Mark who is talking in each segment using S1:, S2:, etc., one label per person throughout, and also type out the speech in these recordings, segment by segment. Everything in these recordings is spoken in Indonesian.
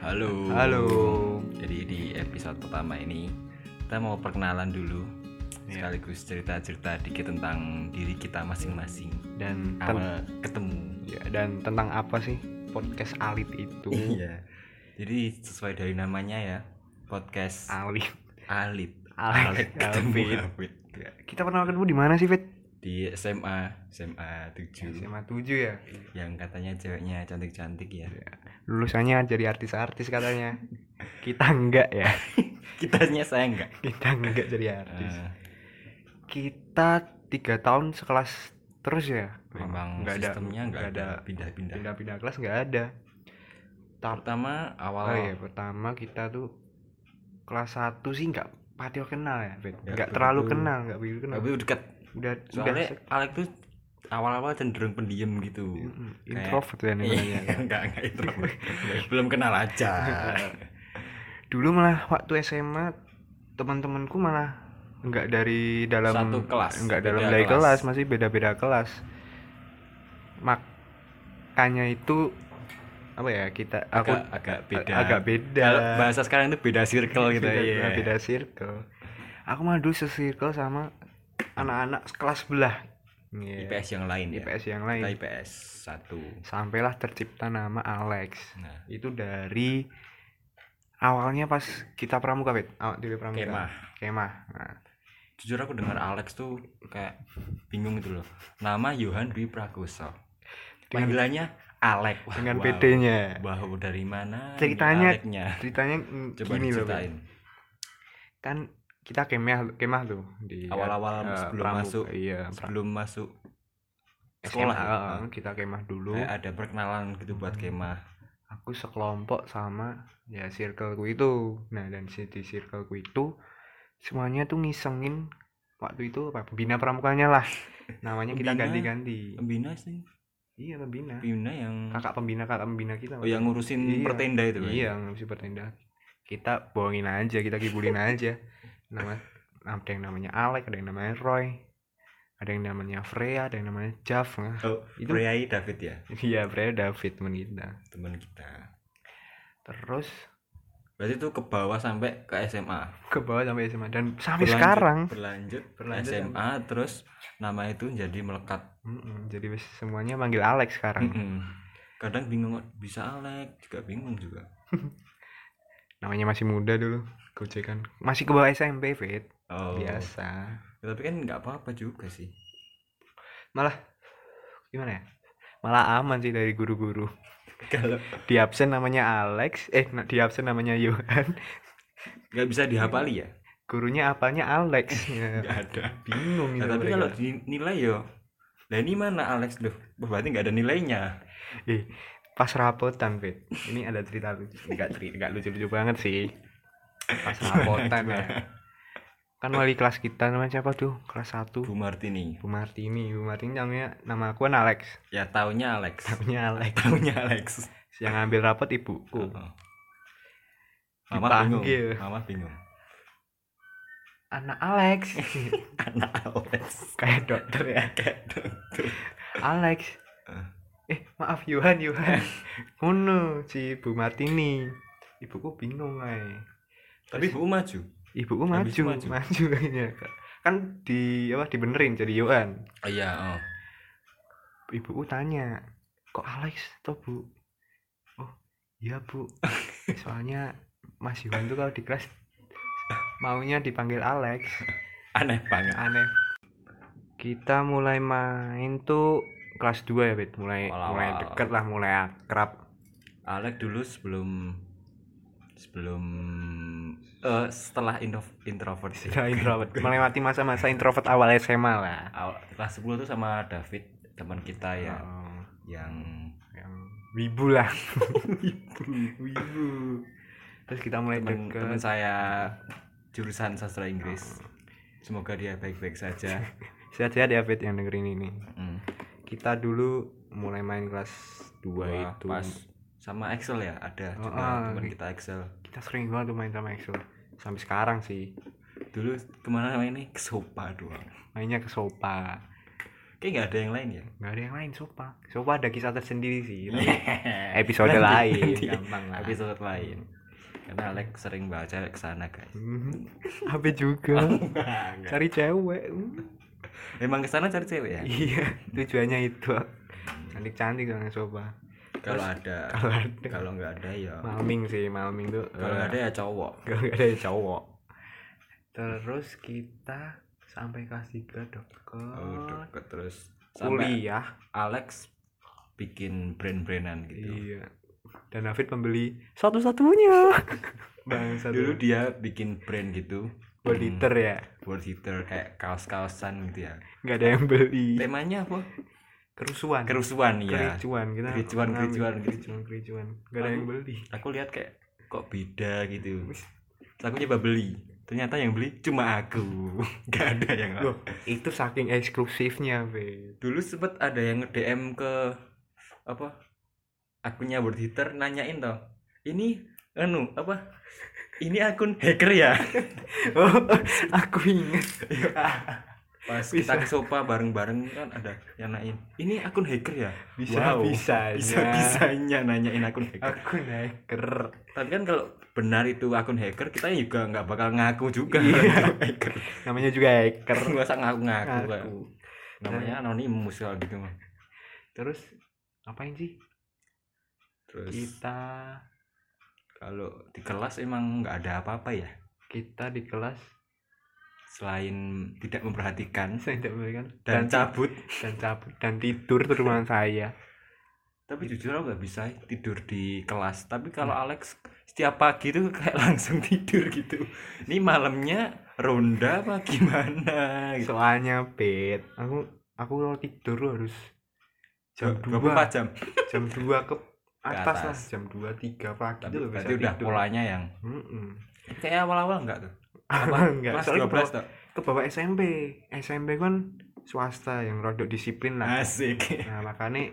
S1: Halo.
S2: Halo.
S1: Jadi di episode pertama ini kita mau perkenalan dulu
S2: Iya.
S1: sekaligus cerita-cerita dikit tentang diri kita masing-masing.
S2: Dan ten-
S1: Awal ketemu.
S2: ya, dan tentang apa sih podcast Alit itu?
S1: Iya. Jadi sesuai dari namanya ya, podcast
S2: Alit.
S1: Alit.
S2: Alit.
S1: ketemu
S2: Alit.
S1: Hafid.
S2: Kita pernah ketemu di mana sih, Fit?
S1: Di SMA, SMA 7
S2: SMA 7 ya.
S1: yang katanya ceweknya cantik-cantik ya.
S2: Lulusannya jadi artis-artis katanya. Kita enggak ya.
S1: Kitanya saya enggak.
S2: Kita enggak jadi artis.
S1: Eh,
S2: Kita tiga tahun sekelas terus ya.
S1: memang
S2: Nggak
S1: sistemnya enggak ada
S2: ada
S1: pindah-pindah.
S2: pindah-pindah kelas enggak ada. Tapi
S1: Pertama awal
S2: Oh iya, pertama kita tuh kelas 1 sih nggak patio kenal ya, Bet.
S1: Nggak
S2: Nggak terlalu
S1: begitu.
S2: kenal, nggak begitu kenal.
S1: tapi dekat
S2: Udah udah
S1: soalnya
S2: se-
S1: Alex tuh awal-awal cenderung pendiam gitu
S2: Mm-mm,
S1: kayak-
S2: introvert ya namanya.
S1: Iya, enggak enggak itu belum kenal aja
S2: Dulu malah waktu SMA teman-temanku malah nggak dari dalam
S1: Satu kelas,
S2: nggak dalam
S1: beda
S2: dari
S1: kelas.
S2: kelas. masih beda-beda kelas. Makanya itu apa ya kita aku
S1: agak agak beda
S2: agak beda.
S1: Kalau bahasa sekarang itu beda circle gitu
S2: beda,
S1: ya
S2: beda circle aku mah dulu circle sama
S1: Hmm.
S2: anak-anak kelas sebelah Iya.
S1: IPS yang lain ya
S2: IPS yang
S1: kita
S2: lain
S1: IPS satu
S2: sampailah tercipta nama Alex
S1: nah
S2: itu dari awalnya pas kita pramuka bet awak dewe pramuka
S1: kemah
S2: Kemah. Nah,
S1: jujur aku dengar Alex tuh kayak bingung gitu loh nama Yohan Dwi Prakoso
S2: Dengan-
S1: panggilannya Alex Wah,
S2: dengan
S1: wow.
S2: PD-nya
S1: Wow, dari mana ini
S2: Ceritanya-
S1: Alexnya?
S2: ceritanya mm,
S1: coba
S2: gini loh Bet.
S1: diceritain
S2: kan kita kemah kemah tuh di
S1: Awal-awal
S2: eh,
S1: sebelum
S2: pramuka.
S1: masuk.
S2: iya pra-
S1: sebelum masuk
S2: SMA,
S1: sekolah ya? Nah,
S2: eh, kita kemah dulu Hmm.
S1: kayak ada perkenalan gitu buat kemah
S2: aku sekelompok sama ya circleku itu nah dan si- di circleku itu semuanya tuh ngisengin waktu itu apa pembina pramukanya lah namanya kita
S1: Pembina?
S2: ganti-ganti
S1: pembina sih
S2: iya pembina
S1: pembina yang
S2: kakak pembina kakak pembina kita
S1: Hmm. oh, yang ngurusin
S2: Iya.
S1: pertenda itu kan?
S2: iya yang si pertenda kita bohongin aja kita kibulin aja nama ada yang namanya Alek ada yang namanya Roy ada yang namanya Freya ada yang namanya Jav nah.
S1: oh,
S2: Itu-
S1: Priai David ya
S2: iya Freya David teman kita
S1: teman kita
S2: terus
S1: berarti itu ke bawah sampai ke SMA
S2: ke bawah sampai SMA dan sampai
S1: Berlanjut-
S2: sekarang
S1: berlanjut,
S2: Berlanjut
S1: SMA terus nama itu jadi melekat
S2: Mm-mm, jadi wis semuanya manggil Alex sekarang.
S1: Mm-mm. kadang bingung kok bisa Alex juga bingung juga
S2: Namanya masih muda dulu. Gojekan. Masih ke bawah SMP, Fit.
S1: oh
S2: Biasa.
S1: tapi kan nggak apa-apa juga sih
S2: Gimana ya? Malah aman sih dari guru-guru.
S1: kalau
S2: Di absen namanya Alex, eh na- di absen namanya Yohan.
S1: nggak bisa dihafali ya
S2: Gurunya apalnya Alex. Ya,
S1: nggak ada Nah,
S2: bingung gitu
S1: tapi
S2: mereka.
S1: kalau dinilai yo. Lah ini mana Alex loh? Wah, Berarti nggak ada nilainya.
S2: Eh, pas rapotan, Fit. Ini ada cerita lucu. Enggak cerita, enggak lucu-lucu banget sih. Pas rapotan ya. Kan wali kelas kita namanya siapa tuh? Kelas 1.
S1: Bu Martini.
S2: Bu Martini, Bu Martini namanya nama aku kan Alex.
S1: Ya taunya Alex.
S2: Namanya Alex.
S1: taunya Alex.
S2: yang ngambil rapat ibuku
S1: Heeh. Mama bingung.
S2: Dipanggil.
S1: Mama bingung.
S2: anak Alex
S1: Anak Alex.
S2: kayak dokter ya
S1: Kayak
S2: Alex
S1: Eh.
S2: eh maaf Yuhan Yuhan ngono si Bu Martini ibuku bingung ay
S1: Tapi Bu maju.
S2: ibuku
S1: Habis
S2: maju
S1: maju.
S2: maju, akhirnya. kan di apa dibenerin jadi Yuhan
S1: Oh, iya, oh.
S2: ibuku tanya kok Alex toh Bu oh iya Bu soalnya Mas Yuhan tuh kalau di kelas maunya dipanggil Alex
S1: Aneh banget.
S2: aneh kita mulai main tuh kelas 2 ya bet mulai
S1: Awal-awal.
S2: mulai deket lah mulai akrab
S1: Alex dulu sebelum sebelum eh setelah intro- introvert sih.
S2: sudah introvert melewati masa-masa introvert awal SMA lah
S1: Awal- kelas 10 tuh sama David teman kita ya
S2: Oh,
S1: yang
S2: yang wibu lah wibu terus kita mulai
S1: teman teman
S2: deket
S1: saya jurusan sastra Inggris
S2: Ah.
S1: semoga dia baik-baik saja
S2: sehat-sehat ya bet yang dengerin ini
S1: Mm.
S2: kita dulu mulai main kelas 2
S1: Wah,
S2: itu
S1: pas sama Excel ya ada
S2: Oh,
S1: juga
S2: ah.
S1: teman kita Excel
S2: kita sering banget tuh main sama Excel sampai sekarang sih
S1: dulu kemana sama ini ke Sopa doang
S2: mainnya ke sopa
S1: kayak nggak ada yang lain ya
S2: nggak ada yang lain sopa sopa ada kisah tersendiri sih tapi Iya. episode
S1: Nanti-
S2: lain
S1: nanti
S2: gampang lah
S1: Iya. episode lain karena Alex sering baca ke sana guys
S2: Hmm, HP
S1: Oh,
S2: juga cari cewek Hmm.
S1: emang ke sana cari cewek ya
S2: iya tujuannya itu cantik cantik soalnya sopa
S1: kalau ada
S2: kalau ada
S1: kalau nggak ada ya
S2: malming sih malming tuh eh,
S1: kalau nggak ada ya cowok
S2: kalau nggak ada ya cowok terus kita sampai kelas
S1: oh,
S2: 3 deket
S1: deket terus sampai
S2: kuliah
S1: Alex bikin brand-brandan gitu
S2: iya dan Hafid membeli satu-satunya bang
S1: dulu dia bikin brand gitu
S2: world
S1: Hmm,
S2: eater ya
S1: world eater kayak kaos-kaosan gitu ya
S2: nggak ada yang beli
S1: temanya apa
S2: Iya. Ah, kerusuhan
S1: kerusuhan ya
S2: kericuan kita
S1: Kericuan,
S2: ngambil
S1: kericuan,
S2: kericuan kericuan nggak ada
S1: Aku-
S2: yang beli
S1: aku lihat kayak kok beda gitu Terus aku nyoba beli ternyata yang beli cuma aku nggak ada yang lain
S2: loh itu saking eksklusifnya Fit.
S1: dulu sempet ada yang nge-DM ke apa akunnya World Hitter nanyain toh ini anu apa ini akun hacker ya
S2: oh, aku inget
S1: Iya. pas
S2: Bisa.
S1: kita ke sopa bareng-bareng kan ada yang nanyain ini akun hacker ya
S2: bisa
S1: Wow,
S2: bisanya
S1: bisa bisanya nanyain akun hacker
S2: aku hacker
S1: eh, tapi kan kalau benar itu akun hacker kita juga nggak bakal ngaku juga
S2: Iya.
S1: hacker
S2: namanya juga hacker
S1: masa ngaku-ngaku Kak.
S2: Ngaku.
S1: namanya anonimus kalau gitu mah
S2: terus ngapain sih
S1: terus
S2: kita
S1: kalau di kelas emang nggak ada apa-apa ya
S2: kita di kelas
S1: selain tidak memperhatikan
S2: saya tidak boleh kan
S1: dan cabut
S2: dan cabut dan tidur di rumah saya
S1: tapi jujur aku nggak bisa tidur di kelas tapi kalau
S2: Hmm.
S1: Alex setiap pagi tuh kayak langsung tidur gitu ini malamnya ronda apa gimana gitu
S2: soalnya pet aku aku kalau tidur lu harus jam
S1: 24
S2: 2
S1: jam
S2: jam 2 ke atas lah
S1: atas.
S2: jam 2 3 pagi
S1: tapi
S2: tuh bisa
S1: berarti udah
S2: tidur.
S1: polanya yang
S2: Mm-mm.
S1: kayak awal-awal nggak tuh
S2: enggak
S1: kelas
S2: soalnya
S1: 12
S2: ke bawah,
S1: tuh
S2: ke bawah SMP SMP kan swasta yang rodok disiplin
S1: Ah.
S2: lah
S1: asik
S2: nah makanya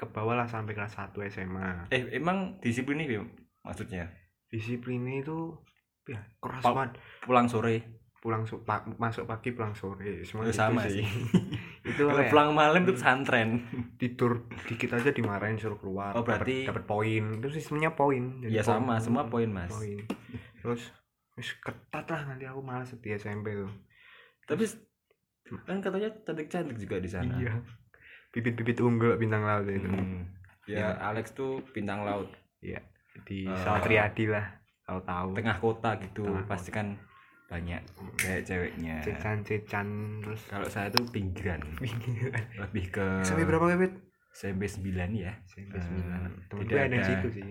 S2: ke bawah lah sampai kelas 1 SMA
S1: eh emang disiplin nih Bim? maksudnya
S2: disiplinnya itu ya keras
S1: Pa-
S2: banget
S1: pulang sore
S2: pulang so- pa- masuk pagi pulang sore semua
S1: itu Ya,
S2: gitu
S1: sama sih
S2: itu
S1: kalau
S2: apa ya,
S1: pulang malam tuh santren
S2: tidur dikit aja dimarahin suruh keluar
S1: Oh, berarti-
S2: dapat poin itu sistemnya poin jadi
S1: ya
S2: poin.
S1: sama semua poin mas
S2: poin terus terus ketat lah nanti aku malas di SMP tuh
S1: tapi kan katanya cantik-cantik juga di sana
S2: Hmm. iya bibit-bibit unggul bintang laut itu
S1: Hmm. Ya, Alex tuh bintang laut
S2: di
S1: Eh.
S2: Satriadi lah kalau tahu
S1: tengah kota gitu,
S2: Tengah
S1: pasti kan banyak cewek-ceweknya.
S2: cecan cecan terus
S1: Kalau Eh. saya tuh pinggiran, lebih ke
S2: SMP berapa Kevin?
S1: SMP 9 ya. Eh,
S2: SMP sembilan temen
S1: tidak
S2: gue ada yang
S1: ada-
S2: situ sih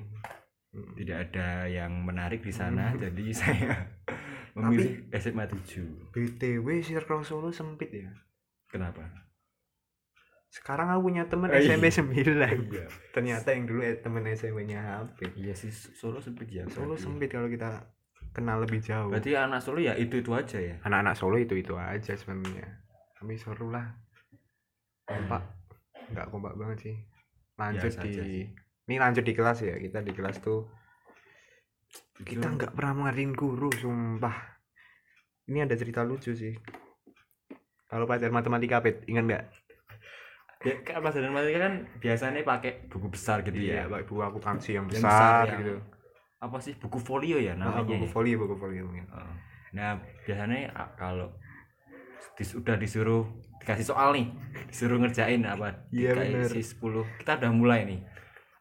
S2: Mm.
S1: Tidak ada yang menarik di
S2: Hmm.
S1: sana, jadi saya memilih SMA 7.
S2: BTW Circle Solo sempit ya
S1: Kenapa?
S2: sekarang aku punya temen
S1: Eh,
S2: SMP
S1: iya.
S2: 9
S1: Iya.
S2: ternyata yang dulu eh, temen SMP nya Hafid
S1: Iya sih Solo sempit ya.
S2: Solo
S1: berarti.
S2: sempit kalau kita kenal lebih jauh.
S1: Berarti anak Solo ya itu-itu aja ya.
S2: anak-anak Solo itu itu aja sebenarnya. Kami seru lah. Kompak, nggak kompak banget sih. Lanjut
S1: Biasa
S2: di,
S1: aja sih.
S2: ini lanjut di kelas ya. Kita di kelas tuh kita
S1: Jujur,
S2: nggak pernah menghargain guru, sumpah. Ini ada cerita lucu sih. Kalau pelajar matematika, Pet, ingat nggak?
S1: ya, kan pelajaran matematika kan biasanya pakai buku besar gitu ya.
S2: Pak Ibu aku kamsi yang
S1: Yang
S2: Iya, besar,
S1: yang-
S2: gitu.
S1: Apa sih buku folio ya
S2: Nah,
S1: namanya?
S2: buku
S1: ya?
S2: folio, buku folio. ya.
S1: Heeh. Nah, biasanya ah, kalau dis, udah disuruh dikasih soal nih, disuruh ngerjain apa
S2: Iya,
S1: dikasih 10. Kita udah mulai nih.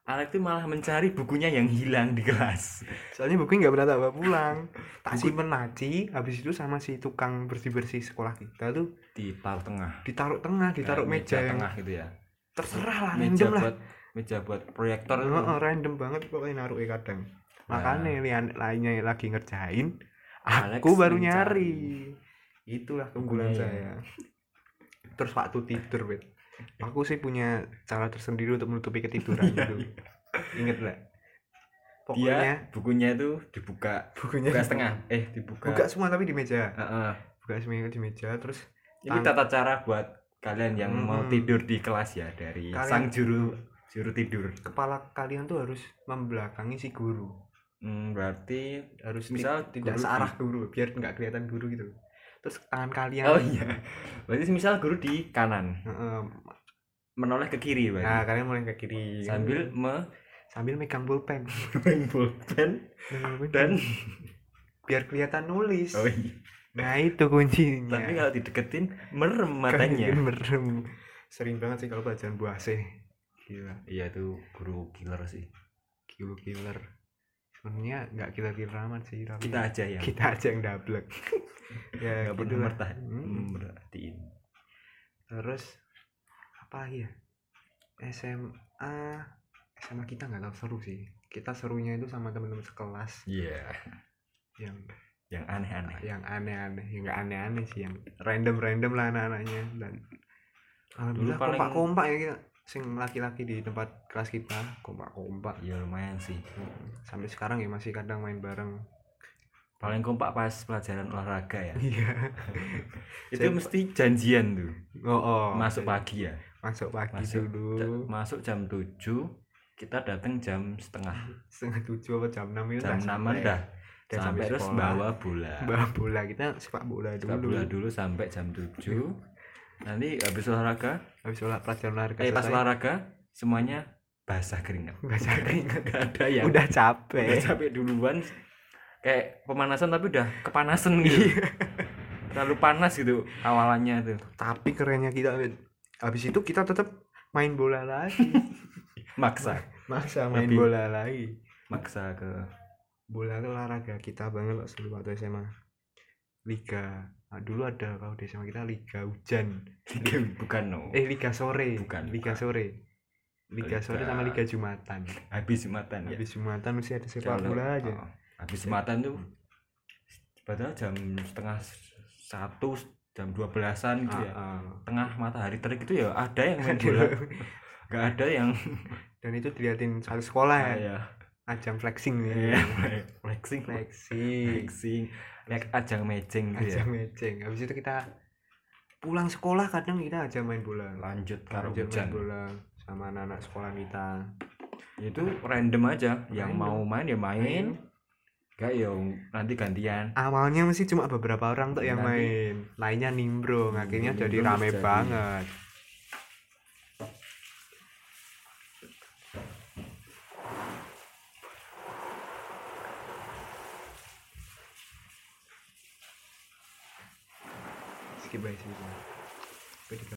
S1: Alex tuh malah mencari bukunya yang hilang di kelas.
S2: Soalnya bukunya nggak pernah tak bawa pulang. Tak simpen naci, habis itu sama si tukang bersih-bersih sekolah kita tuh
S1: Di paruh tengah.
S2: ditaruh tengah, ditaruh
S1: Kayak
S2: meja, yang
S1: tengah gitu ya.
S2: terserah lah,
S1: Meja
S2: random lah.
S1: buat meja buat proyektor itu.
S2: Heeh, random banget pokoknya naruh kadang.
S1: Nah.
S2: Makanya lian lainnya yang lagi ngerjain,
S1: Alex
S2: aku baru
S1: mencari.
S2: nyari. Itulah
S1: Iya.
S2: keunggulan saya. Terus waktu tidur, Bet. Aku sih punya cara tersendiri untuk menutupi ketiduran itu. Ingat lah.
S1: Iya, Dia
S2: Pokoknya
S1: bukunya itu dibuka
S2: bukunya
S1: buka setengah. Eh, dibuka.
S2: Buka semua tapi di meja.
S1: Heeh.
S2: Buka semua di meja terus
S1: Ini
S2: Tang-
S1: tata cara buat kalian yang mau
S2: Hmm.
S1: tidur di kelas ya dari
S2: Kalian-
S1: sang juru juru tidur.
S2: kepala kalian tuh harus membelakangi si guru
S1: Hmm, berarti
S2: harus ti-
S1: Misal
S2: tidak
S1: guru
S2: searah guru biar nggak kelihatan guru gitu terus tangan kalian
S1: Oh iya. Berarti misal guru di kanan,
S2: Heeh.
S1: menoleh ke kiri
S2: nah
S1: berarti.
S2: kalian mulai ke kiri
S1: Iya. Sambil me
S2: sambil megang pulpen
S1: drawing pulpen
S2: Megang pulpen.
S1: dan
S2: biar kelihatan nulis
S1: oh iya.
S2: nah itu kuncinya
S1: Tapi kalau dideketin merem
S2: Kalian
S1: matanya.
S2: merem sering banget sih kalau pelajaran buah sih gila
S1: Iya tuh guru killer sih.
S2: Iya. killer killer sebenarnya nggak killer killer amat sih tapi
S1: Kita aja yang
S2: kita aja yang double ya
S1: nggak
S2: gitu
S1: pernah Hmm.
S2: lah.
S1: merta-
S2: Mm.
S1: merhatiin.
S2: terus apa lagi ya SMA SMA kita nggak tahu seru sih kita serunya itu sama teman-teman sekelas
S1: Iya.
S2: yang
S1: Yang aneh-aneh.
S2: yang aneh-aneh yang nggak aneh-aneh sih yang random-random lah anak-anaknya dan alhamdulillah
S1: paling-
S2: kompak-kompak ya kita sing laki-laki di tempat kelas kita kompak-kompak
S1: Iya lumayan sih.
S2: Hmm, sampai sekarang ya masih kadang main bareng
S1: Paling kompak pas pelajaran olahraga ya.
S2: iya
S1: Itu
S2: Saya-
S1: mesti janjian tuh.
S2: oh, oh.
S1: Masuk pagi ya.
S2: masuk pagi
S1: Masuk-
S2: dulu
S1: Masuk jam 7 kita datang jam setengah
S2: setengah tujuh apa jam enam itu
S1: jam
S2: udah
S1: enam
S2: Iya, sampai.
S1: dah
S2: Udah
S1: sampai terus
S2: sekolah.
S1: bawa bola
S2: bawa bola kita sepak bola
S1: sepak
S2: dulu Iya.
S1: bola dulu sampai jam 7 nanti habis olahraga
S2: habis olah pelajaran olahraga
S1: eh pas
S2: selesai,
S1: olahraga semuanya basah keringat
S2: Basah keringat. Ya.
S1: Nggak ada yang
S2: udah eh.
S1: udah
S2: capek
S1: capek duluan kayak pemanasan tapi udah kepanasan gitu
S2: Iya.
S1: terlalu panas gitu awalannya tuh
S2: tapi kerennya kita Win. habis itu kita tetap main bola lagi
S1: maksa
S2: masa main
S1: Lebih.
S2: bola lagi
S1: maksa ke
S2: bola itu olahraga kita banget loh dulu waktu SMA liga nah, dulu ada kalau di SMA kita liga hujan
S1: bukan no
S2: eh liga sore
S1: Bukan, bukan.
S2: liga sore Ah. liga sore
S1: Liga-
S2: sama liga jumatan
S1: habis jumatan ya
S2: habis jumatan mesti ada Iya. sepak
S1: Kalau-
S2: bola aja
S1: oh, habis jumatan tuh padahal jam setengah satu jam dua belasan gitu ya
S2: Ah, ah.
S1: tengah matahari terik itu ya ada yang main bola nggak ada yang
S2: dan itu diliatin satu sekolah ya
S1: ya
S2: ajang flexing ya
S1: Iya, flexing
S2: flexing
S1: flexing kayak ajang matching gitu ya
S2: ajang meceng habis itu kita pulang sekolah kadang kita aja main bola
S1: lanjut karo
S2: Lanjut main
S1: hujan
S2: bola sama anak-anak sekolah kita
S1: itu random aja yang
S2: Random.
S1: mau main ya main gak ya nanti gantian
S2: awalnya mesti cuma beberapa orang tuh yang
S1: kan? Nanti- Hmm,
S2: main lainnya nimbrung akhirnya jadi
S1: Nimbrung
S2: rame
S1: terus jadi.
S2: banget Skip aja, skip aja.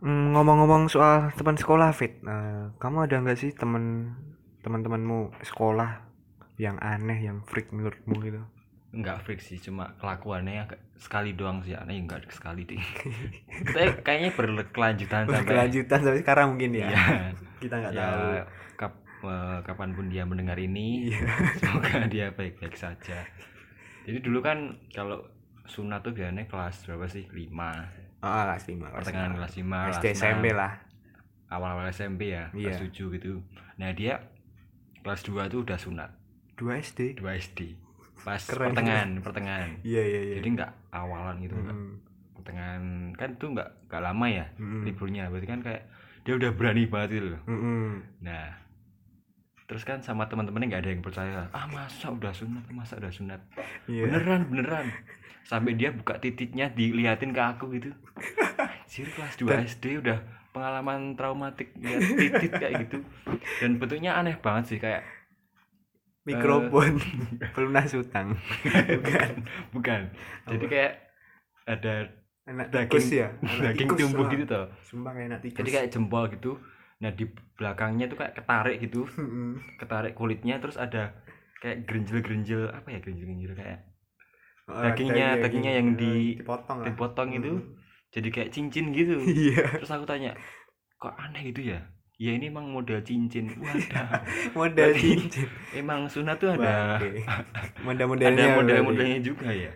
S2: Hmm, ngomong-ngomong soal teman sekolah Fit nah, kamu ada nggak sih teman teman-temanmu sekolah yang aneh yang freak menurutmu gitu
S1: nggak freak sih cuma kelakuannya agak sekali doang sih aneh enggak sekali deh Tapi kayaknya berkelanjutan sampai
S2: berkelanjutan sampai sekarang mungkin ya,
S1: ya,
S2: kita nggak
S1: ya
S2: tahu Iya.
S1: kap, eh, kapanpun dia mendengar ini semoga dia baik-baik saja jadi dulu kan kalau sunat tuh biasanya kelas berapa sih lima
S2: oh, oh, kelas lima kelas
S1: pertengahan
S2: lima.
S1: kelas lima
S2: SD SMP lah
S1: awal-awal SMP ya
S2: Iya.
S1: kelas tujuh gitu nah dia kelas dua tuh udah sunat
S2: dua SD
S1: dua SD pas
S2: Keren.
S1: pertengahan pertengahan
S2: iya iya iya
S1: jadi nggak awalan gitu nggak
S2: Mm,
S1: pertengahan kan tuh nggak nggak lama ya
S2: mm,
S1: liburnya berarti kan kayak dia udah berani banget gitu loh
S2: mm, mm.
S1: nah terus kan sama teman-temannya nggak ada yang percaya ah masa udah sunat masa udah sunat
S2: Iya.
S1: beneran beneran sampai dia buka titiknya diliatin ke aku gitu anjir kelas 2 SD udah pengalaman traumatik lihat titik kayak gitu dan bentuknya aneh banget sih kayak
S2: mikrofon pelunas hutang
S1: bukan bukan jadi kayak ada
S2: enak
S1: Daging-
S2: tikus ya Enak
S1: daging
S2: tikus,
S1: tumbuh
S2: ah.
S1: gitu toh
S2: sumpah kayak enak tikus
S1: jadi kayak jempol gitu nah di belakangnya tuh kayak ketarik gitu
S2: Mm,
S1: ketarik kulitnya terus ada kayak gerinjel-gerinjel apa ya gerinjel-gerinjel kayak
S2: oh,
S1: Dagingnya-
S2: daging- eh,
S1: dagingnya yang di-
S2: dipotong lah
S1: dipotong itu
S2: Mm.
S1: jadi kayak cincin gitu
S2: iya
S1: terus aku tanya kok aneh gitu ya ya ini emang model cincin wadah
S2: model
S1: Daging-
S2: cincin
S1: emang sunat tuh ada
S2: Bangke. model-modelnya
S1: ada
S2: berarti.
S1: model-modelnya juga ya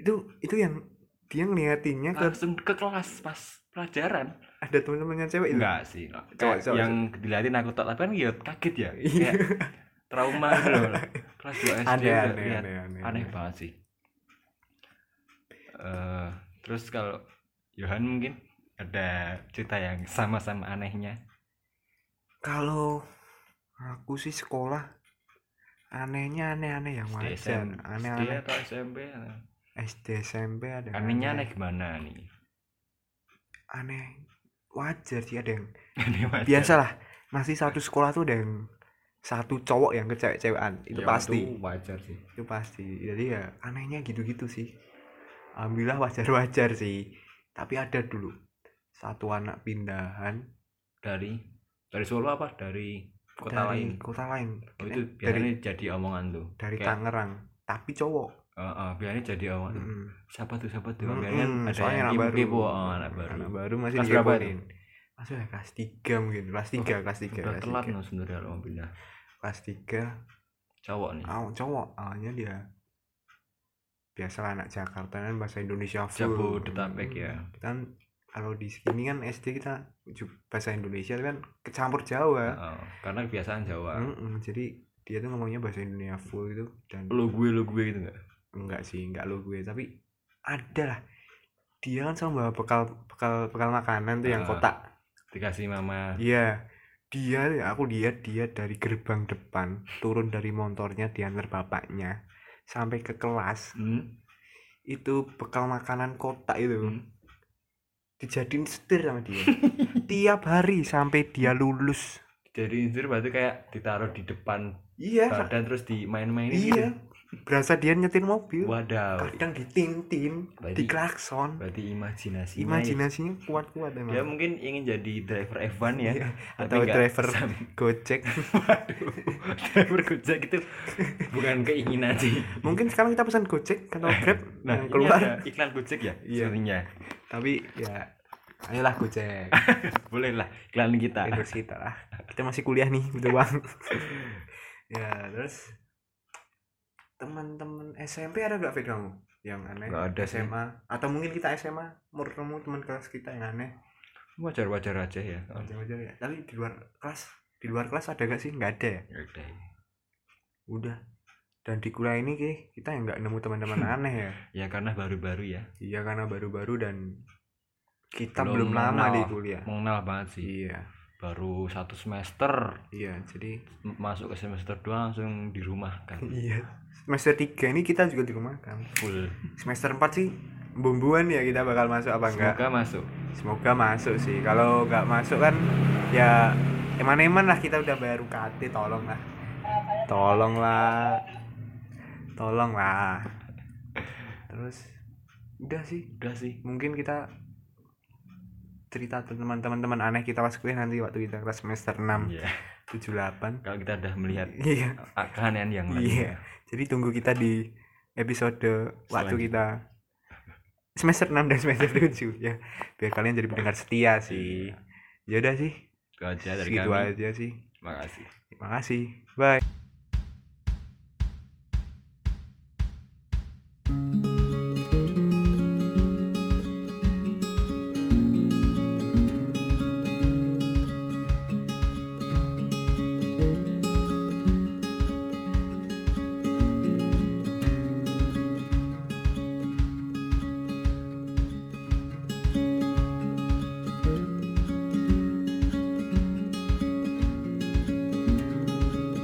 S2: itu itu yang dia ngeliatinnya ke
S1: langsung ke kelas pas pelajaran
S2: ada teman-temannya cewek itu
S1: enggak sih
S2: Cowok,
S1: kayak
S2: cowok,
S1: yang dilihatin aku tak tapi kan ya kaget ya
S2: Iya.
S1: kayak trauma gitu loh kelas 2 SD
S2: aneh
S1: udah
S2: aneh
S1: lihat.
S2: aneh aneh
S1: iya. aneh banget sih eh terus kalau Johan mungkin ada cerita yang sama-sama anehnya
S2: kalau aku sih sekolah anehnya aneh-aneh yang
S1: SD,
S2: wajar
S1: SM, SD
S2: aneh-aneh
S1: atau SMP
S2: SD SMP ada yang
S1: ya. anehnya aneh gimana nih
S2: aneh wajar sih ada yang
S1: aneh wajar.
S2: biasalah masih satu sekolah tuh ada yang satu cowok yang kecewek-cewekan itu
S1: Ya,
S2: pasti
S1: itu wajar sih
S2: itu pasti jadi ya anehnya gitu-gitu sih alhamdulillah wajar-wajar sih tapi ada dulu satu anak pindahan
S1: dari dari Solo apa dari kota
S2: dari
S1: lain
S2: kota lain
S1: oh, itu
S2: Kayaknya dari
S1: biasanya jadi omongan tuh
S2: dari
S1: kayak-
S2: Tangerang tapi cowok
S1: Eh, eh, biasanya jadi omongan tuh,
S2: Mm-mm.
S1: siapa tuh siapa tuh
S2: Mm-mm.
S1: biasanya ada
S2: Hmm. Soalnya
S1: yang
S2: anak baru
S1: kepo oh, anak baru
S2: anak baru masih
S1: Kelas berapa
S2: dihebohin masih ya, kelas tiga mungkin kelas tiga kelas tiga
S1: udah
S2: kelas
S1: telat
S2: tiga.
S1: loh sebenarnya kalau mau pindah
S2: kelas tiga
S1: cowok nih
S2: aw cowok awalnya dia biasalah anak Jakarta kan bahasa Indonesia full
S1: Jabodetabek ya
S2: Kita kan kalau di sini kan SD kita ju- bahasa Indonesia tapi kan kecampur Jawa
S1: Oh, karena kebiasaan Jawa
S2: Mm-mm, jadi dia tuh ngomongnya bahasa Indonesia full gitu dan
S1: lo gue lo gue gitu nggak
S2: enggak sih enggak lo gue tapi ada lah dia kan sama bawa bekal bekal bekal makanan tuh yang
S1: Ah.
S2: kotak
S1: dikasih mama
S2: iya dia aku lihat dia dari gerbang depan turun dari motornya diantar bapaknya sampai ke kelas
S1: Hmm,
S2: itu bekal makanan kotak itu
S1: hmm.
S2: dijadiin setir sama dia tiap hari sampai dia lulus
S1: jadi insur berarti kayak ditaruh di depan
S2: iya
S1: badan terus dimain-mainin gitu
S2: iya berasa dia nyetir mobil
S1: wadaw
S2: kadang ditintin
S1: Berarti-
S2: diklakson
S1: berarti imajinasinya
S2: imajinasinya kuat-kuat emang
S1: ya mungkin ingin jadi driver F1 ya
S2: Hmm. Iya,
S1: tapi
S2: atau
S1: nggak
S2: driver
S1: sam-
S2: Gojek
S1: Waduh, driver Gojek itu gitu. bukan keinginan sih
S2: mungkin sekarang kita pesan Gojek atau Grab
S1: nah ini
S2: yang keluar
S1: ada iklan Gojek ya
S2: Iya.
S1: sebenarnya
S2: tapi ya ayolah Gojek
S1: boleh lah iklan kita
S2: Endorse kita lah kita masih kuliah nih butuh uang ya terus teman-teman SMP ada nggak Fit kamu yang aneh
S1: Nggak ada sih.
S2: SMA atau mungkin kita SMA menurut kamu teman kelas kita yang aneh
S1: wajar-wajar aja ya Oh,
S2: wajar-wajar ya tapi di luar kelas di luar kelas ada gak sih nggak ada ya
S1: ya udah.
S2: udah dan di kuliah ini ki, kita yang nggak nemu teman-teman aneh ya
S1: ya karena baru-baru ya
S2: iya karena baru-baru dan kita
S1: Belum
S2: belum, lama
S1: mengenal.
S2: di kuliah
S1: mengenal banget sih
S2: iya
S1: baru satu semester
S2: iya jadi
S1: M- masuk ke semester 2 langsung kan. dirumahkan
S2: iya semester 3 ini kita juga di rumah kan
S1: full
S2: semester 4 sih bumbuan ya kita bakal masuk apa enggak
S1: semoga masuk
S2: semoga masuk sih kalau nggak masuk kan ya eman-eman lah kita udah bayar UKT tolong lah tolong lah tolong lah terus udah sih
S1: udah sih
S2: mungkin kita cerita tentang teman-teman aneh kita pas kuliah nanti waktu kita kelas semester 6
S1: Iya.
S2: 78
S1: kalau kita udah melihat
S2: iya
S1: ah, keanehan yang lain
S2: Iya. Jadi tunggu kita di episode waktu kita semester 6 dan semester 7 ya. Biar kalian jadi pendengar setia sih. Ya udah sih.
S1: itu Iya. aja dari
S2: Segitu
S1: kami
S2: aja sih.
S1: makasih
S2: Makasih. Bye.